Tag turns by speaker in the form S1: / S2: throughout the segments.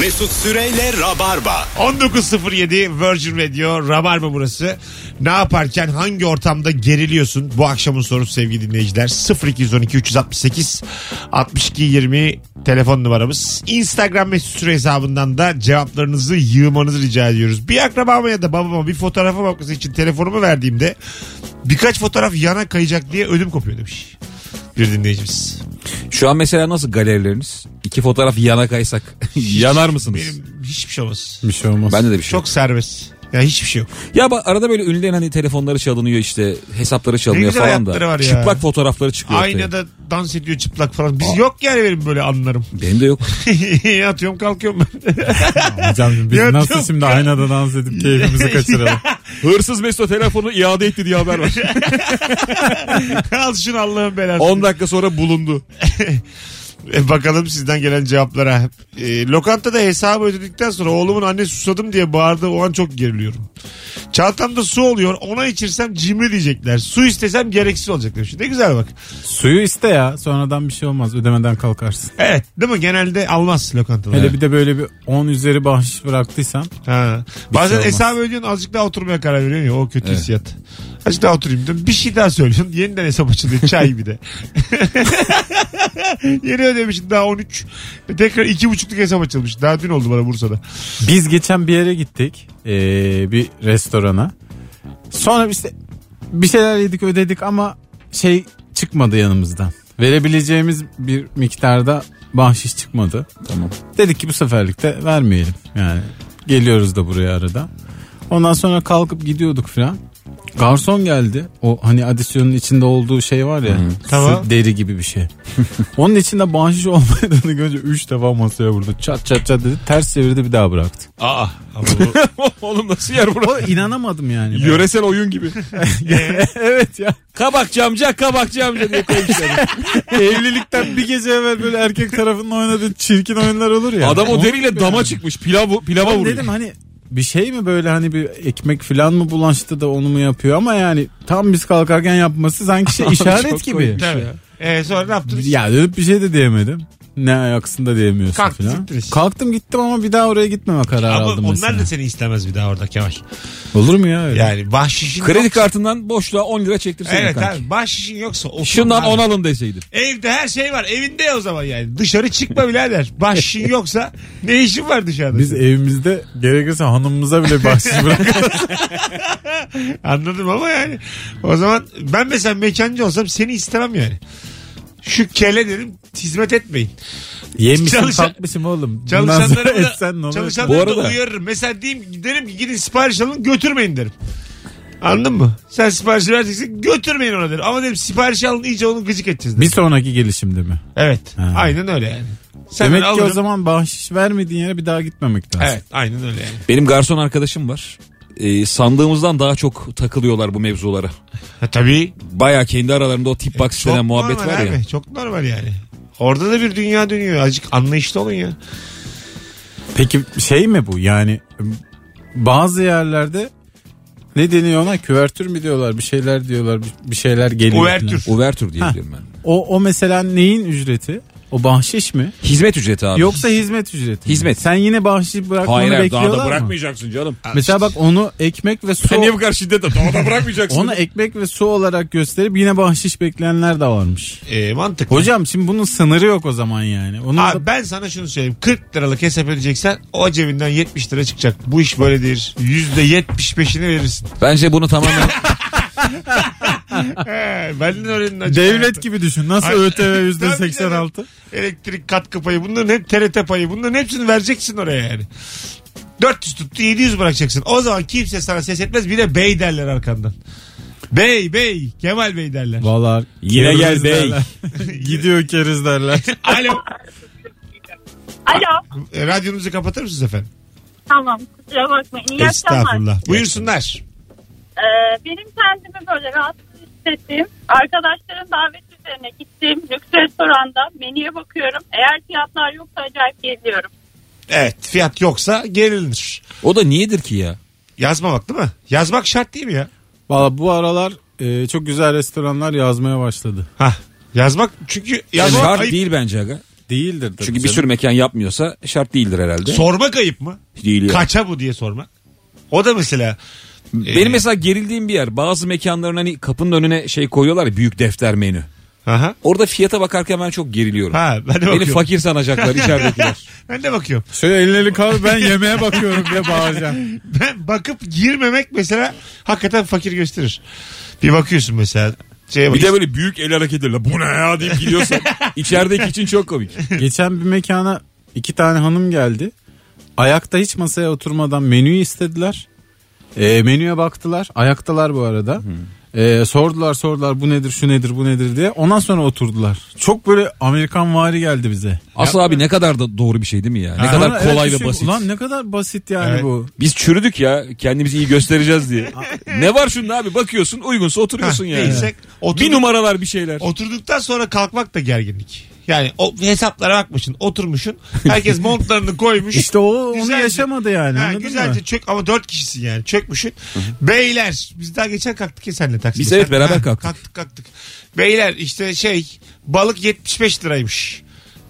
S1: Mesut Süreyle Rabarba.
S2: 19.07 Virgin Radio Rabarba burası. Ne yaparken hangi ortamda geriliyorsun? Bu akşamın sorusu sevgili dinleyiciler. 0212 368 62 20 telefon numaramız. Instagram mesut süre hesabından da cevaplarınızı yığmanızı rica ediyoruz. Bir akrabama ya da babama bir fotoğrafa bakması için telefonumu verdiğimde birkaç fotoğraf yana kayacak diye ödüm kopuyor demiş. Bir dinleyicimiz.
S3: Şu an mesela nasıl galerileriniz? İki fotoğraf yana kaysak yanar mısınız?
S2: Benim hiçbir şey olmaz.
S4: Bir şey olmaz.
S3: Bende de bir şey. Çok...
S2: Çok serbest. Ya hiçbir şey yok.
S3: Ya bak arada böyle ünlülerin hani telefonları çalınıyor işte hesapları çalınıyor
S2: güzel
S3: falan da.
S2: hayatları var ya.
S3: Çıplak fotoğrafları çıkıyor ortaya.
S2: Aynada dans ediyor çıplak falan. Biz yok yani benim böyle anlarım.
S3: Benim de yok.
S2: Yatıyorum kalkıyorum ben.
S4: Hocam biz
S2: Ya
S4: nasıl
S2: çok-
S4: şimdi aynada dans edip keyfimizi kaçıralım.
S3: Hırsız Mesut telefonu iade etti diye haber var.
S2: Al şunu Allah'ın belası.
S3: 10 dakika sonra bulundu.
S2: E, bakalım sizden gelen cevaplara. E, lokantada hesabı ödedikten sonra oğlumun anne susadım diye bağırdı. O an çok geriliyorum. Çantamda su oluyor. Ona içirsem cimri diyecekler. Su istesem gereksiz olacak demiş. Ne güzel bak.
S4: Suyu iste ya sonradan bir şey olmaz ödemeden kalkarsın.
S2: Evet değil mi? Genelde almaz lokantalar.
S4: Hele bir de böyle bir 10 üzeri bahşiş bıraktıysan
S2: Ha.
S4: Bir
S2: Bazen
S4: şey olmaz.
S2: hesabı ödüyorsun azıcık daha oturmaya karar veriyorsun ya o kötü hissiyat. Azıcık daha oturayım diyorsun. Bir şey daha söylüyorsun. Yeniden hesap açılıyor. Çay bir de. Yeni ödemişsin daha 13. Tekrar 2,5'luk hesap açılmış. Daha dün oldu bana Bursa'da.
S4: Biz geçen bir yere gittik eee, bir restorana. Sonra işte bir şeyler yedik ödedik ama şey çıkmadı yanımızdan. Verebileceğimiz bir miktarda bahşiş çıkmadı.
S3: Tamam.
S4: Dedik ki bu seferlikte vermeyelim yani. Geliyoruz da buraya arada. Ondan sonra kalkıp gidiyorduk filan. Garson geldi. O hani adisyonun içinde olduğu şey var ya. Süt
S2: Tamam.
S4: deri gibi bir şey. Onun içinde bahşiş olmadığını görünce 3 defa masaya vurdu. Çat çat çat dedi. Ters çevirdi bir daha bıraktı.
S2: Aa.
S3: Oğlum nasıl yer
S4: O
S3: burası?
S4: inanamadım yani.
S3: Yöresel oyun gibi.
S4: evet ya.
S3: kabakçı amca kabakçı amca diye koymuşlar.
S4: Evlilikten bir gece evvel böyle erkek tarafının oynadığı çirkin oyunlar olur ya.
S3: Adam o
S4: Onu-
S3: deriyle dama çıkmış pilav, pilava
S4: Ben
S3: vuruyor.
S4: dedim hani bir şey mi böyle hani bir ekmek falan mı bulaştı da onu mu yapıyor ama yani tam biz kalkarken yapması sanki şey işaret
S3: Çok
S4: gibi.
S3: koymuş
S2: Tabii. Ee, sonra ne yaptınız?
S4: Ya dönüp bir şey de diyemedim. Ne ayaksın da diyemiyorsun
S2: Kalktı,
S4: falan.
S2: siktir iş.
S4: Kalktım gittim ama bir daha oraya gitmeme kararı
S2: Ama
S4: aldım
S2: onlar
S4: mesela.
S2: da seni istemez bir daha orada Kemal.
S4: Olur mu ya öyle?
S2: Yani bahşişin
S3: Kredi
S2: yoksa-
S3: kartından boşluğa 10 lira çektirseydin
S2: Evet
S3: kanki.
S2: abi bahşişin yoksa otur.
S3: Şundan
S2: abi.
S3: 10 alın deseydin.
S2: Evde her şey var. Evinde o zaman yani. Dışarı çıkma birader. Bahşişin yoksa ne işin var dışarıda?
S4: Biz evimizde gerekirse hanımımıza bile bahsiz bırakırız.
S2: Anladım ama yani. O zaman ben mesela mekancı olsam seni istemem yani. Şu kele derim hizmet etmeyin.
S4: Yemişim
S2: Çalışan-
S4: kalkmışım oğlum. Bundan sonra
S2: Çalışanları
S4: etsen ne
S2: da,
S4: olur?
S2: çalışanları
S3: Bu
S2: da
S3: arada-
S2: uyarırım. Mesela diyeyim, derim ki gidin sipariş alın götürmeyin derim. Anladın mı? Sen siparişi vereceksin götürmeyin ona derim. Ama derim siparişi alın iyice onu gıcık edeceğiz derim.
S4: Bir sonraki gelişimde mi?
S2: Evet.
S4: Ha.
S2: Aynen öyle yani. Sen
S4: Demek
S2: ben
S4: ki
S2: alırım.
S4: o zaman bahşiş vermediğin yere bir daha gitmemek lazım.
S2: Evet aynen öyle yani.
S3: Benim garson arkadaşım var. Ee, sandığımızdan daha çok takılıyorlar bu mevzulara.
S2: Ha, tabii.
S3: Baya kendi aralarında o
S4: E,
S3: tip box denen muhabbet
S2: normal
S3: var ya.
S2: abi, Çok normal yani. Orada da bir dünya dönüyor. Azıcık anlayışlı olun ya.
S4: Peki şey mi bu yani bazı yerlerde ne deniyor ona küvertür mü diyorlar bir şeyler diyorlar bir- bir şeyler geliyor.
S2: Uvertür.
S4: falan.
S3: Uvertür diye biliyorum ben.
S4: O, o mesela neyin ücreti? O bahşiş mi?
S3: Hizmet ücreti abi.
S4: Yoksa hizmet ücreti mi?
S3: Hizmet.
S4: Sen yine bahşiş bırakmanı
S3: Hayır hayır,
S4: bekliyorlar
S3: daha da
S4: mı?
S3: bırakmayacaksın canım.
S4: Mesela bak onu ekmek ve su
S3: Sen niye bu kadar şiddet Daha da bırakmayacaksın.
S4: onu e- ekmek ve su olarak gösterip yine bahşiş bekleyenler de varmış.
S2: Ee, mantıklı.
S4: Hocam şimdi bunun sınırı yok o zaman yani. Onun da-
S2: Abi ben sana şunu söyleyeyim. 40 liralık hesap ödeyeceksen o cebinden 70 lira çıkacak. Bu iş böyle değil. %75'ini verirsin.
S3: Bence bunu tamamen
S2: He, benden öğrenin acaba.
S4: devlet gibi düşün. Nasıl
S2: Hayır.
S4: ÖTV yüzde
S2: Tabii canım.
S4: 86?
S2: Elektrik katkı payı bunların hep TRT payı bunların hepsini vereceksin oraya yani. 400 tuttu 700 bırakacaksın. O zaman kimse sana ses etmez bir de bey derler arkandan. Bey bey Kemal Bey derler.
S4: Vallahi
S3: Yine
S4: keriz
S3: gel bey.
S4: derler. Gidiyor keriz derler.
S2: Alo.
S5: Alo.
S2: E, Radyonuzu kapatır mısınız efendim?
S5: Tamam kusura bakmayın. İyi akşamlar.
S2: Estağfurullah. Buyursunlar.
S5: Ee, benim kendimi böyle rahatsız hissettiğim arkadaşların davet üzerine gittiğim lüks restoranda menüye bakıyorum. Eğer fiyatlar yoksa acayip geliyorum.
S2: Evet fiyat yoksa gerilinir.
S3: o da niyedir ki ya?
S2: Yazmamak değil mi? Yazmak şart değil mi ya?
S4: Valla bu aralar e, çok güzel restoranlar yazmaya başladı.
S2: Hah. Yazmak çünkü yazmak
S3: Şart
S2: ayıp.
S3: değil bence aga.
S4: Değildir tabii
S3: Çünkü bir
S4: canım.
S3: sürü mekan yapmıyorsa şart değildir herhalde.
S2: Sormak ayıp mı?
S3: Değil ya.
S2: Kaça bu diye sormak. O da mesela
S3: Benim mesela gerildiğim bir yer bazı mekanların hani kapının önüne şey koyuyorlar ya büyük defter menü.
S2: aha.
S3: Orada fiyata bakarken ben çok geriliyorum.
S2: Ha, ben de
S3: Beni
S2: bakıyorum.
S3: fakir sanacaklar içeridekiler.
S2: Ben de bakıyorum.
S4: Şöyle elleri kal ben yemeğe bakıyorum diye bağıracağım.
S2: Ben bakıp girmemek mesela hakikaten fakir gösterir. Bir bakıyorsun mesela. Şeye bak-
S3: bir de böyle büyük el hareketleriyle bu ne ya deyip gidiyorsun. İçerideki için çok komik.
S4: Geçen bir mekana iki tane hanım geldi. Ayakta hiç masaya oturmadan menüyü istediler. Ee, menüye baktılar. Ayaktalar bu arada. Ee, sordular sordular bu nedir şu nedir bu nedir diye. Ondan sonra oturdular. Çok böyle Amerikan vari geldi bize.
S3: Aslı abi ne kadar da doğru bir şey değil mi ya? Ne
S4: Sonra
S3: kadar
S4: evet
S3: kolay ve
S4: düşün-
S3: basit.
S4: Ulan ne kadar basit yani
S2: Evet.
S4: bu.
S3: Biz çürüdük ya kendimizi iyi göstereceğiz diye. ne var şunda abi bakıyorsun uygunsa oturuyorsun yani.
S2: değilsek oturduk-
S3: Bir numaralar bir şeyler.
S2: Oturduktan sonra kalkmak da gerginlik. Yani o hesaplara bakmışsın, oturmuşsun. Herkes montlarını koymuş.
S4: İşte o
S2: Güzelce-
S4: onu yaşamadı yani.
S2: Ha,
S4: anladın
S2: güzelce
S4: mı?
S2: çök ama dört kişisin yani çökmüşsün. Beyler biz daha geçen kalktık ya senle taksiye.
S3: Biz evet,
S2: Sen-
S3: beraber
S2: Ha,
S3: kalktık.
S2: Kalktık kalktık. Beyler işte şey balık 75 liraymış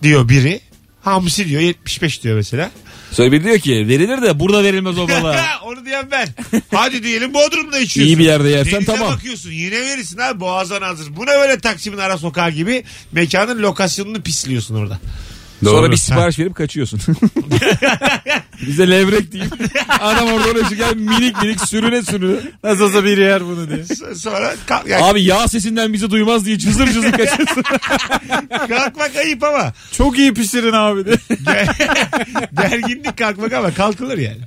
S2: diyor biri. Hamsi diyor 75 diyor mesela.
S3: Sonra biri diyor ki verilir de burada verilmez o balığa.
S2: Onu diyen ben. Hadi diyelim Bodrum'da içiyorsun.
S3: İyi bir yerde yersen
S2: Denize
S3: tamam.
S2: bakıyorsun yine verirsin abi boğazdan hazır. Bu ne böyle Taksim'in ara sokağı gibi mekanın lokasyonunu pisliyorsun orada.
S3: Sonra bir sipariş verip kaçıyorsun. Bize levrek diyeyim. Adam orada oraya çıkar minik minik sürüne sürüne.
S4: Nasıl olsa biri yer bunu diye.
S2: S- Sonra kalk, yani
S3: Abi yağ sesinden bizi duymaz diye cızır cızır kaçıyorsun.
S2: kalkmak ayıp ama.
S4: Çok iyi pişirin abi diye.
S2: Gerginlik kalkmak ama kalkılır yani.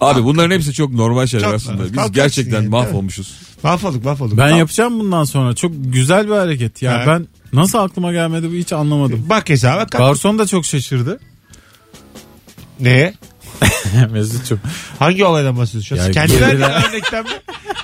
S3: Abi bunların hepsi çok normal şeyler
S2: Çok
S3: aslında.
S2: normal.
S3: Biz
S2: Kalkarsın
S3: gerçekten
S2: yani,
S3: mahvolmuşuz.
S2: Mahvolduk mahvolduk.
S4: Ben
S2: Tamam.
S4: yapacağım bundan sonra. Çok güzel bir hareket ya.
S2: Evet.
S4: Ben nasıl aklıma gelmedi bu hiç anlamadım.
S2: Bak hesaba kalk.
S4: Garson da çok şaşırdı.
S2: Neye?
S4: Mesut'cum.
S2: Hangi olaydan bahsediyorsun? şu an?
S4: Ya
S2: Kendi
S4: gerilen-
S2: verdiğin örnekten mi?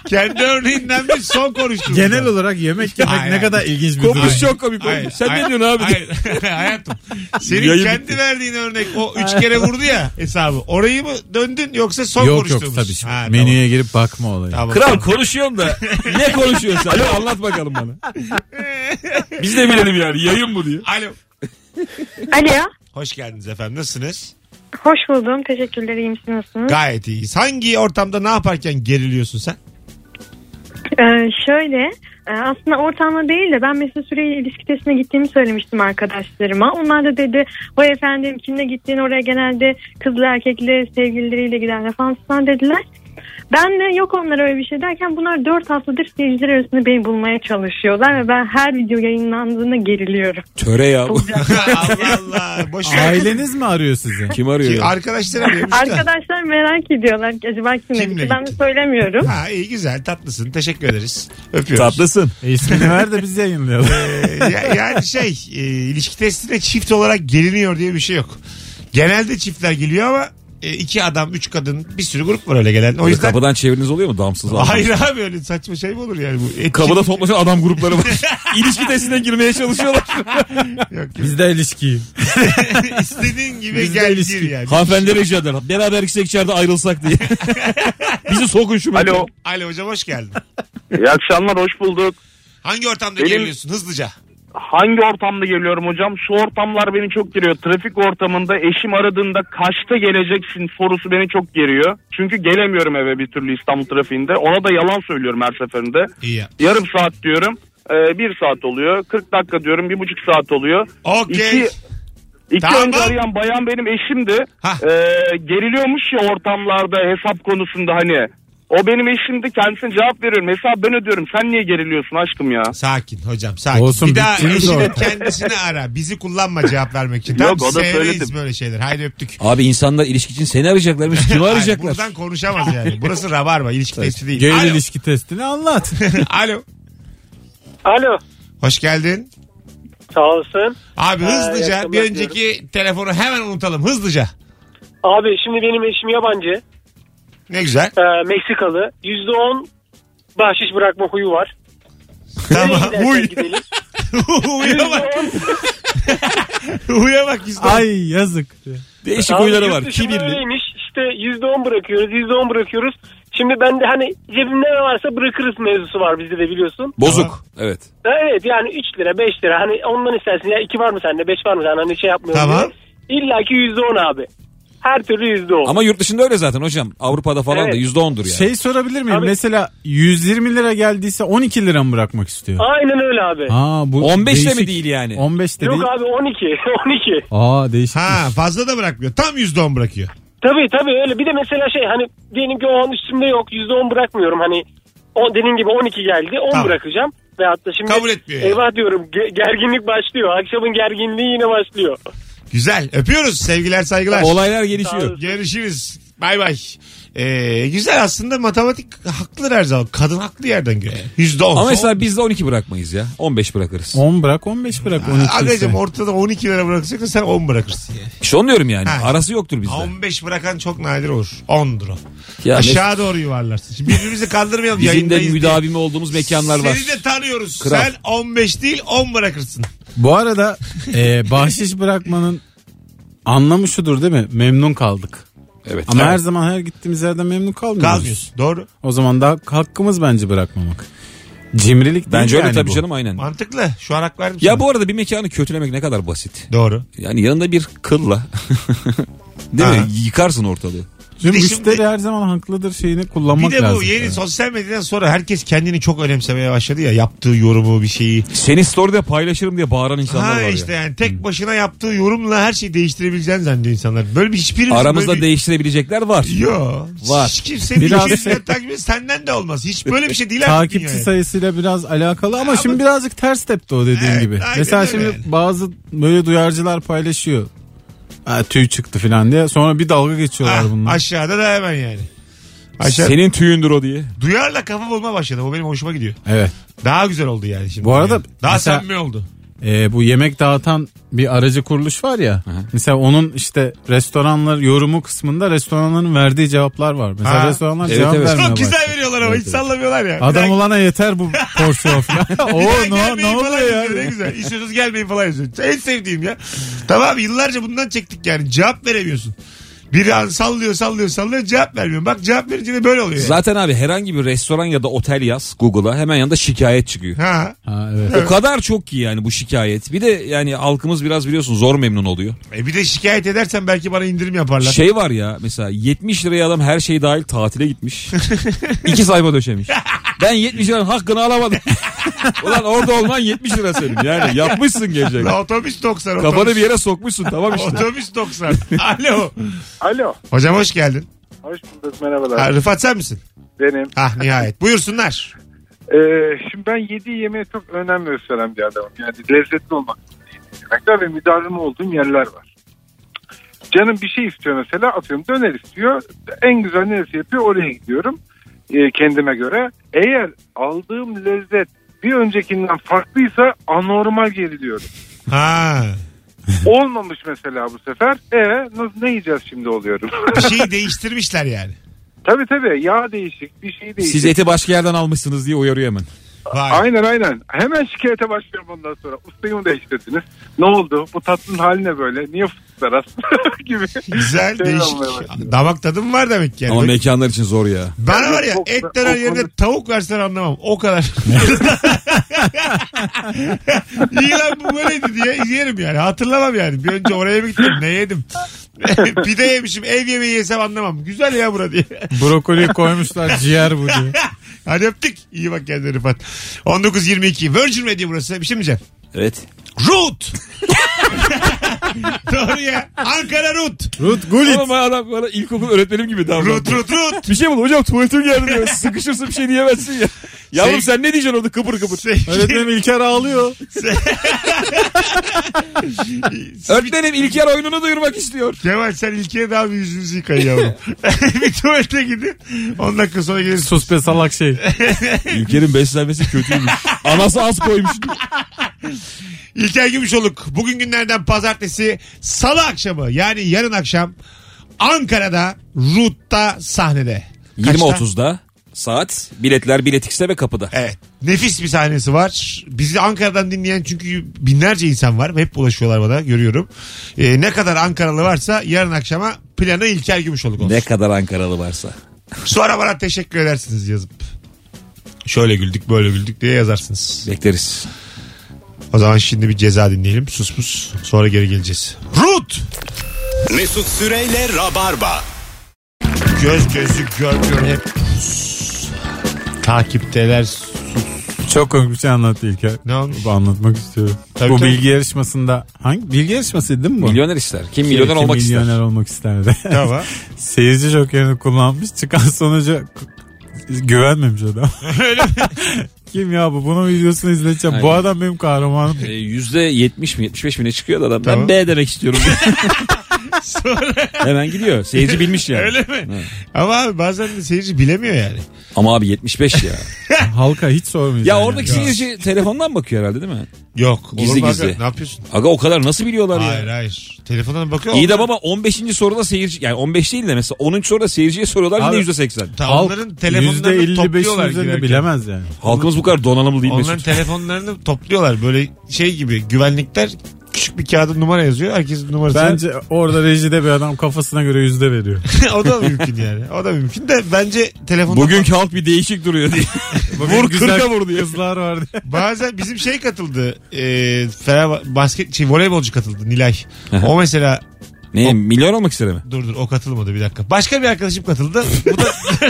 S2: Kendi örneğinden mi son konuştuğumuz?
S4: Genel olarak yemek yemek
S2: Hayır,
S4: ne
S2: hayır.
S4: kadar ilginç bir durum.
S3: Kopuş çok komik.
S2: Hayır,
S3: Sen
S2: hayır,
S3: ne diyorsun abi?
S2: Hayır, hayatım. Senin
S3: Yayın
S2: kendi
S3: bitti.
S2: verdiğin örnek o üç kere vurdu ya hesabı. Orayı mı döndün yoksa son
S4: Yok yok
S2: konuştuğumuz?
S4: tabii. şimdi.
S2: Ha,
S4: Menüye girip bakma olayı.
S2: Tamam.
S3: Kral konuşuyorum da ne konuşuyorsun? Alo anlat bakalım bana. Biz de bilelim yani yayın bu diye.
S2: Tamam. Alo.
S6: Alo.
S2: Hoş geldiniz efendim. Nasılsınız?
S6: Hoş buldum. Teşekkürler. İyiyim. Siz nasılsınız?
S2: Gayet iyiyiz. Hangi ortamda ne yaparken geriliyorsun sen?
S6: Ee, şöyle e, aslında ortamla değil de ben mesela süreyi ilişki testine gittiğimi söylemiştim arkadaşlarıma. Onlar da dedi vay efendim kimle gittiğin oraya genelde kızlı erkekli sevgilileriyle giderler falan filan dediler. Ben de yok onlara öyle bir şey derken bunlar 4 haftadır seyirciler arasında beni bulmaya çalışıyorlar ve ben her video yayınlandığında geriliyorum.
S3: Töre ya bu.
S2: Allah Allah. Boş ver.
S4: Aileniz mi arıyor sizi?
S3: Kim arıyor? ya?
S2: Arkadaşlar arıyormuş da.
S6: Arkadaşlar merak ediyorlar ki acaba kimle
S2: Kimle
S6: gitti ben de
S2: gitti?
S6: söylemiyorum.
S2: Ha iyi güzel tatlısın. Teşekkür ederiz. Öpüyoruz.
S3: Tatlısın.
S4: E, ismini ver de biz yayınlayalım.
S2: Ee, ya- yani şey e, ilişki testine çift olarak geliniyor diye bir şey yok. Genelde çiftler geliyor ama e, iki adam üç kadın bir sürü grup var öyle gelen. O yüzden
S3: Kapıdan çeviriniz oluyor mu damsız? adam?
S2: hayır abi öyle saçma şey mi olur yani bu? Etkinlik-
S3: Kapıda toplaşan adam grupları var. İlişki testine girmeye çalışıyorlar.
S2: Yok, yok.
S4: biz de ilişkiyi.
S2: İstediğin gibi
S4: Bizde
S2: gel
S4: ilişki.
S2: gir yani.
S3: Hanımefendi rica eder. Beraber gitsek içeride ayrılsak diye. Bizi sokun şu mekan.
S7: Alo.
S2: Alo hocam hoş geldin.
S7: İyi akşamlar hoş bulduk.
S2: Hangi ortamda
S7: Benim-
S2: geriliyorsun hızlıca?
S7: Hangi ortamda geliyorum hocam? Şu ortamlar beni çok geriyor. Trafik ortamında eşim aradığında kaçta geleceksin sorusu beni çok geriyor. Çünkü gelemiyorum eve bir türlü İstanbul trafiğinde. Ona da yalan söylüyorum her seferinde.
S2: İyi yap.
S7: Yarım saat diyorum. e, bir saat oluyor. 40 dakika diyorum. Bir buçuk saat oluyor.
S2: Okey.
S7: İki, iki
S2: Tamam.
S7: önce arayan bayan benim eşimdi.
S2: Hah.
S7: E, geriliyormuş ya ortamlarda hesap konusunda hani. O benim eşimdi. Kendisine cevap veriyorum. Hesap ben ödüyorum. Sen niye geriliyorsun aşkım ya?
S2: Sakin hocam sakin.
S4: Olsun,
S2: bir daha
S4: bittiniz
S2: eşinin
S4: orada.
S2: kendisini ara. Bizi kullanma cevap vermek için. Tamam,
S7: Yok, o da
S2: sevmeyiz
S7: söyledim.
S2: böyle şeyler. Haydi öptük.
S3: Abi insanlar ilişki için seni arayacaklarmış. Kimi
S2: Hayır,
S3: arayacaklar?
S2: Buradan konuşamaz yani. Burası rabarba ilişki testi değil.
S4: Gel
S2: Alo.
S4: ilişki testini anlat.
S2: Alo.
S8: Alo.
S2: Hoş geldin.
S8: Sağ olasın.
S2: Abi
S8: Ha, iyi
S2: hızlıca
S8: akşamlar
S2: bir önceki telefonu hemen unutalım hızlıca.
S8: Abi şimdi benim eşim yabancı.
S2: Ne güzel.
S8: e, Meksikalı. %10 bahşiş bırakma huyu var.
S2: tamam.
S8: Huy.
S2: Huy. Huya bak. Huya bak yüzde.
S4: Ay yazık.
S3: Değişik huyları var. Kibirli.
S8: Öyleymiş. İşte %10 bırakıyoruz, %10 bırakıyoruz. Şimdi ben de hani cebimde ne varsa bırakırız mevzusu var bizde de biliyorsun.
S3: Bozuk. Evet.
S8: Evet yani 3 lira 5 lira hani ondan istersin ya 2 var mı sende 5 var mı sende hani şey yapmıyorum.
S2: Tamam.
S8: diye. İlla ki %10 abi. Her türlü %10.
S3: Ama yurt dışında öyle zaten hocam. Avrupa'da falan
S8: Evet.
S3: da yüzde ondur yani.
S4: Şey sorabilir miyim?
S8: Abi-
S4: Mesela 120 lira geldiyse 12 lira mı bırakmak istiyor?
S8: Aynen öyle abi.
S4: Aa, bu
S3: 15 de mi
S4: değişik.
S3: değil yani?
S4: 15 de
S8: Yok
S4: değil.
S8: abi 12. 12.
S4: Aa değişik.
S2: Ha fazla da bırakmıyor. Tam %10 bırakıyor.
S8: Tabii tabii öyle. Bir de mesela şey hani diyelim ki o 10 üstümde yok. %10 bırakmıyorum hani. O dediğin gibi 12 geldi. 10
S2: Tamam.
S8: bırakacağım. Ve hatta şimdi
S2: Kabul etmiyor yani.
S8: eyvah diyorum ge- gerginlik başlıyor. Akşamın gerginliği yine başlıyor.
S2: Güzel. Öpüyoruz. Sevgiler saygılar.
S3: Olaylar
S8: Sağ
S3: gelişiyor.
S8: olun.
S2: Görüşürüz. Bay bay. Ee, güzel aslında matematik haklı her zaman. Kadın haklı yerden göre. Yüzde on.
S3: Ama mesela biz de 12 bırakmayız ya. 15 bırakırız.
S4: 10 bırak 15 bırak 12 ise.
S2: Agacım ortada 12 lira bırakacak sen 10 bırakırsın. Yani.
S3: İşte onu diyorum yani.
S2: Ha.
S3: Arası yoktur bizde.
S2: 15 bırakan çok nadir olur. 10'dur o.
S3: Ya
S2: Aşağı doğru yuvarlarsın. Şimdi birbirimizi kandırmayalım.
S3: Bizim de
S2: yayındayız diye.
S3: müdavimi olduğumuz mekanlar var.
S2: Seni de tanıyoruz.
S3: Kral.
S2: Sen 15 değil 10 bırakırsın.
S4: Bu arada e, bahşiş bırakmanın anlamı şudur değil mi? Memnun kaldık.
S3: Evet.
S4: Ama
S3: Evet.
S4: her zaman her gittiğimiz yerden memnun kalmıyoruz.
S2: Kalmıyorsun. Doğru.
S4: O zaman da hakkımız bence bırakmamak. Cimrilik değil
S3: Bence
S4: yani
S3: öyle tabii
S4: bu.
S3: canım aynen.
S2: Mantıklı. Şu an hak verdim sana.
S3: Ya bu arada bir mekanı kötülemek ne kadar basit.
S2: Doğru.
S3: Yani yanında bir kılla. Değil
S2: Ha.
S3: mi? Yıkarsın ortalığı.
S4: Çünkü
S2: Bir de
S4: müşteri
S2: şimdi-
S4: her zaman haklıdır şeyini kullanmak
S2: Bir de bu
S4: lazım.
S2: yeni sosyal medyadan sonra herkes kendini çok önemsemeye başladı ya. Yaptığı yorumu bir şeyi.
S3: Seni story'de paylaşırım diye bağıran insanlar
S2: Ha
S3: var
S2: işte
S3: ya.
S2: yani tek başına yaptığı yorumla her şeyi değiştirebileceğini zannediyor insanlar. Böyle bir hiçbirimiz
S3: Aramızda
S2: böyle bir-
S3: değiştirebilecekler var.
S2: Yo.
S3: Var.
S2: Hiç kimsenin
S4: Biraz
S2: Biraz
S4: şey-
S2: takip etmesi senden de olmaz. Hiç böyle bir şey değil. artık
S4: Takipçi
S2: dünyaya.
S4: sayısıyla biraz alakalı ama, şimdi birazcık ters tepti o dediğin
S2: Evet,
S4: gibi.
S2: aynen
S4: Mesela
S2: öyle
S4: şimdi
S2: yani.
S4: bazı böyle duyarcılar paylaşıyor. Ha, tüy çıktı falan diye. Sonra bir dalga geçiyorlar
S2: Ha,
S4: bunlar.
S2: aşağıda da hemen yani. Aşağı...
S3: Senin tüyündür o diye.
S2: Duyarla kafa bulma başladı. O benim hoşuma gidiyor.
S4: Evet.
S2: Daha güzel oldu yani şimdi.
S4: Bu arada
S2: Yani. Daha
S4: mesela-
S2: samimi oldu.
S4: Ee, bu yemek dağıtan bir aracı kuruluş var ya. Mesela onun işte restoranlar yorumu kısmında restoranların verdiği cevaplar var. Mesela
S2: Ha.
S4: restoranlar
S3: Evet,
S4: cevap
S3: evet.
S4: vermiyor.
S2: Çok
S4: bazen.
S2: güzel veriyorlar ama hiç sallamıyorlar ya. Bir
S4: Adam
S2: daha-
S4: olana yeter bu porsiyon falan.
S2: bir daha
S4: Oo ne, ne
S2: gelmeyin falan
S4: oluyor
S2: yazıyor. Ne
S4: ya?
S2: güzel. İstiyorsanız gelmeyin falan yazıyor. En sevdiğim ya. Tamam yıllarca bundan çektik yani. Cevap veremiyorsun. Biri an sallıyor sallıyor sallıyor cevap vermiyor. Bak cevap verince de böyle oluyor. yani.
S3: Zaten abi herhangi bir restoran ya da otel yaz Google'a hemen yanında şikayet çıkıyor.
S2: Ha,
S4: Ha, evet.
S3: O kadar çok ki yani bu şikayet. Bir de yani halkımız biraz biliyorsun zor memnun oluyor.
S2: e bir de şikayet edersen belki bana indirim yaparlar.
S3: Şey var ya mesela 70 liraya adam her şey dahil tatile gitmiş. İki sayfa döşemiş. Ben 70 liranın hakkını alamadım. Ulan orada olman 70 lira senin. Yani yapmışsın
S4: Şey-
S3: gelecek.
S2: La otobüs 90.
S3: Kafanı
S2: otobüs.
S3: bir yere sokmuşsun tamam işte.
S2: Otobüs 90. Alo.
S9: Alo.
S2: Hocam hoş geldin.
S9: Hoş bulduk merhabalar.
S2: Ha, Rıfat sen misin?
S9: Benim.
S2: Ah nihayet. Buyursunlar.
S9: Ee, şimdi ben yediği yemeğe çok önem gösteren bir adamım. Yani lezzetli olmak zorunda yediğim yemekler ve müdavim olduğum yerler var. Canım bir şey istiyor mesela atıyorum döner istiyor. En güzel neresi yapıyor oraya gidiyorum Ee, kendime göre. Eğer aldığım lezzet bir öncekinden farklıysa anormal geriliyorum.
S2: Ha.
S9: Olmamış mesela bu sefer. E nasıl ne yiyeceğiz şimdi oluyorum.
S2: Bir şeyi değiştirmişler yani.
S9: tabii tabii yağ değişik bir şey değişik.
S3: Siz eti başka yerden almışsınız diye uyarıyor hemen.
S2: Vay.
S9: Aynen aynen. Hemen şikayete başlıyorum ondan sonra. Ustayı mı değiştirdiniz? Ne oldu? Bu tatlının hali ne böyle? Niye fıstıklar az? gibi.
S2: Güzel
S9: Şey
S2: değişik.
S9: olmaya başlıyor.
S2: Damak tadım var demek ki yani.
S3: Ama mekanlar için zor ya.
S2: Bana var ya
S9: Çok-
S2: et döner
S9: o-
S2: yerine
S9: onu-
S2: tavuk versen anlamam. O kadar. İyi lan bu böyleydi diye yerim yani. Hatırlamam yani. Bir önce oraya mı gittim? Ne yedim? Pide yemişim. Ev yemeği yesem anlamam. Güzel ya bura diye.
S4: Brokoli koymuşlar ciğer bu diye.
S2: Hadi öptük. İyi bak kendine Rıfat. 19.22 Virgin Radio burası. Bir şey mi diyeceksin?
S3: Evet.
S2: Root. Doğru ya. Ankara Root.
S4: Ruth Gullit.
S3: Oğlum adam bana ilkokul öğretmenim gibi davrandı.
S2: Root Root Root.
S3: Bir şey bul hocam tuvaletim geldi diyor. Sıkışırsın bir şey diyemezsin ya. Yavrum sen ne diyeceksin orada kıpır kıpır.
S4: Öğretmenim İlker ağlıyor.
S3: Öğretmenim İlker oyununu duyurmak istiyor.
S2: Kemal sen ilkeye daha bir yüzünüzü yıkayın yavrum. bir tuvalete gidin. 10 dakika sonra gelirsin.
S4: Sus be salak şey.
S3: İlker'in beslenmesi kötüymüş. Anası az koymuş.
S2: İlker Gümüşoluk bugün günlerden pazartesi salı akşamı yani yarın akşam Ankara'da Root'ta sahnede. Kaçta?
S3: 20.30'da saat biletler biletikse ve kapıda.
S2: Evet. Nefis bir sahnesi var. Bizi Ankara'dan dinleyen çünkü binlerce insan var. Hep ulaşıyorlar bana görüyorum. Ee, ne kadar Ankaralı varsa yarın akşama planı İlker Gümüşoluk olsun.
S3: Ne kadar Ankaralı varsa.
S2: Sonra bana teşekkür edersiniz yazıp. Şöyle güldük böyle güldük diye yazarsınız.
S3: Bekleriz.
S2: O zaman şimdi bir ceza dinleyelim. Sus pus. Sonra geri geleceğiz. Rut!
S1: Mesut Süreyle Rabarba.
S2: Göz gözü gör gör hep pus. Takipteler. sus.
S4: Çok komik bir şey anlattı İlker.
S2: Ne olmuş?
S4: Bu anlatmak istiyorum.
S2: Tabii,
S4: bu
S2: tabii.
S4: bilgi yarışmasında hangi bilgi yarışması değil mi bu?
S3: Milyoner ister. Kim milyoner
S4: Kim
S3: olmak
S4: milyoner
S3: ister?
S4: olmak isterdi.
S2: Tamam.
S4: Seyirci jokerini kullanmış. Çıkan sonuca güvenmemiş adam. Kim ya bu? Bunun videosunu izleteceğim. Bu
S3: Aynen.
S4: adam benim kahramanım.
S3: E, Yüzde yetmiş mi yetmiş beş mi ne çıkıyor da adam.
S2: Tamam.
S3: Ben B demek istiyorum. Hemen gidiyor. Seyirci bilmiş yani.
S2: Öyle mi? Ama abi bazen de seyirci bilemiyor yani.
S3: Ama abi 75 ya.
S4: Halka hiç sormayacağım.
S3: ya
S4: yani.
S3: oradaki seyirci telefondan bakıyor herhalde değil mi?
S2: Yok.
S3: Gizli
S2: Oğlum abi,
S3: gizli.
S2: Ne yapıyorsun?
S3: Aga o kadar nasıl biliyorlar
S2: Hayır
S3: ya?
S2: hayır. Telefondan bakıyor.
S3: İyi de baba 15. soruda seyirci yani 15 değil de mesela 13 soruda seyirciye soruyorlar
S4: Abi-
S3: yine %80.
S2: Onların telefonlarını topluyorlar
S4: üzerinde
S2: girerken.
S4: bilemez yani.
S3: Halkımız bu kadar donanımlı değil
S2: Onların
S3: Mesut.
S2: telefonlarını topluyorlar. Böyle şey gibi güvenlikler küçük bir kağıda numara yazıyor. Herkesin numarası.
S4: Bence orada rejide bir adam kafasına göre yüzde veriyor.
S2: o da mümkün yani. O da mümkün de bence telefonda
S3: Bugünkü halk bir değişik duruyor diye. Vur kırka vur diye.
S4: Kızlar vardı.
S2: bazen bizim şey katıldı. E, Fener basket şey voleybolcu katıldı Nilay.
S3: Aha.
S2: o mesela
S3: Ne milyon olmak ister mi?
S2: dur dur o katılmadı bir dakika. Başka bir arkadaşım katıldı. Bu da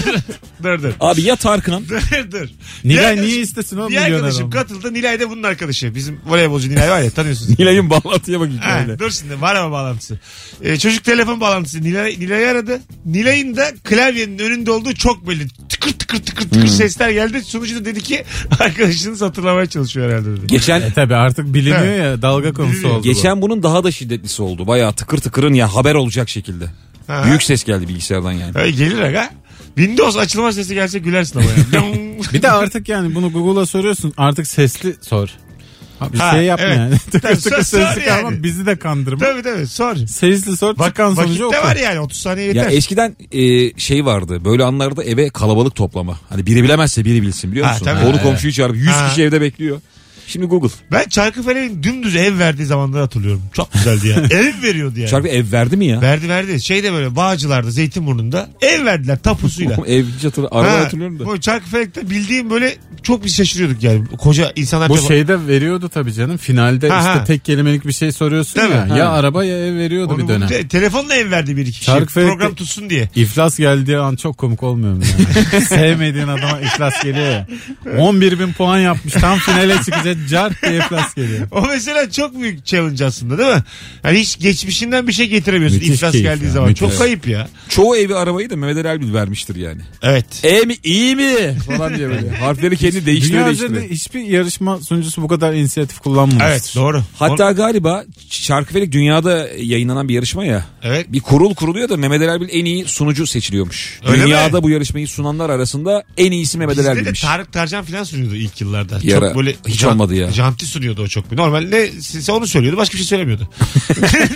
S2: dur dur.
S3: Abi ya Tarkan'ım
S2: Dur dur.
S4: Nilay
S2: Bir
S4: niye
S2: arkadaşım-
S4: istesin
S2: Bir
S4: o milyoner
S2: arkadaşım
S4: olmak?
S2: katıldı. Nilay de bunun arkadaşı. Bizim voleybolcu Nilay var ya tanıyorsunuz.
S3: Nilay'ın bağlantıya bak
S2: Ha,
S3: hikayede.
S2: dur şimdi var ama bağlantısı. Ee, çocuk telefon bağlantısı Nilay, Nilay'ı aradı. Nilay'ın da klavyenin önünde olduğu çok belli. Tıkır tıkır tıkır
S3: Hmm.
S2: tıkır sesler geldi. Sunucu da dedi ki arkadaşınız hatırlamaya çalışıyor herhalde dedi.
S3: Geçen
S4: E tabi artık biliniyor
S2: Evet.
S4: ya dalga konusu
S2: Biliniyor.
S4: oldu. bu.
S3: geçen bunun daha da şiddetlisi oldu. Bayağı tıkır tıkırın ya haber olacak şekilde.
S2: Ha.
S3: Büyük ses geldi bilgisayardan yani.
S2: Ay, gelir aga. Windows açılma sesi gelse gülersin ama yani.
S4: Bir de artık yani bunu Google'a soruyorsun artık sesli sor. Ha, Bir
S2: Ha,
S4: şey yapma
S2: evet.
S4: yani. Tıkır
S2: Tabii, sor-
S4: tıkır
S2: sor
S4: sesli
S2: yani.
S4: kalma bizi de kandırma.
S2: tabii tabii sor.
S4: Sesli sor
S2: Bak,
S4: çıkan sonucu oku.
S2: vakitte var yani 30 saniye yeter.
S3: Ya eskiden e, şey vardı böyle anlarda eve kalabalık toplama. Hani biri bilemezse biri bilsin biliyor
S2: Ha,
S3: musun?
S2: tabii.
S3: Konu
S2: Evet.
S3: komşuyu çağırıp 100
S2: Ha.
S3: kişi evde bekliyor. Şimdi Google.
S2: Ben Çarkıfele'nin dümdüz ev verdiği zamanları hatırlıyorum. Çok güzeldi ya. ev veriyordu yani.
S3: Çarpı ev verdi mi ya?
S2: Verdi verdi. Şey de böyle Bağcılar'da Zeytinburnu'nda ev verdiler tapusuyla.
S3: ev hiç hatırla- arada hatırlıyorum da.
S2: Bu Çarkıfelek'te bildiğim böyle çok biz şaşırıyorduk yani. Koca insanlar
S4: Bu
S2: tabii-
S3: şey
S4: şeyde veriyordu tabii canım. Finalde
S2: Ha,
S4: işte
S2: ha.
S4: tek kelimelik bir şey soruyorsun
S2: Değil
S4: ya.
S2: mi?
S4: Ya
S3: Ha.
S4: araba ya ev veriyordu
S2: Onu
S4: bir dönem.
S2: te- telefonla ev verdi bir iki kişi.
S4: Çarkıfelek'te-
S2: Program tutsun diye.
S4: İflas geldiği an çok komik olmuyor mu? yani? Sevmediğin adama iflas geliyor ya. 11 bin puan yapmış tam finale çıkacak cart diye iflas geliyor.
S2: O mesela çok büyük challenge aslında değil mi? Hani hiç geçmişinden bir şey getiremiyorsun
S4: Müthiş
S2: iflas
S4: keyif
S2: geldiği
S4: ya,
S2: zaman.
S4: müthiş.
S2: Çok kayıp ya.
S3: Çoğu evi arabayı da Mehmet Ali Erbil vermiştir yani.
S2: Evet.
S3: E mi iyi mi falan diye böyle. Harfleri kendi değiştiriyor
S4: Dünya
S3: değiştiriyor.
S4: üzerinde hiçbir yarışma sunucusu bu kadar inisiyatif kullanmamış.
S2: Evet doğru.
S3: Hatta galiba Çarkıfelik dünyada yayınlanan bir yarışma ya.
S2: Evet.
S3: Bir kurul kuruluyor da Mehmet Ali Erbil en iyi sunucu seçiliyormuş.
S2: Öyle
S3: dünyada bu yarışmayı sunanlar arasında en iyisi Mehmet Ali
S2: Bizde de
S3: Erbil'miş.
S2: Tarık Tarcan falan sunuyordu ilk yıllarda.
S3: Bir ara
S2: çok böyle
S3: hiç olmadı ya.
S2: Janti sunuyordu o çok. Normalde size onu söylüyordu başka bir şey söylemiyordu.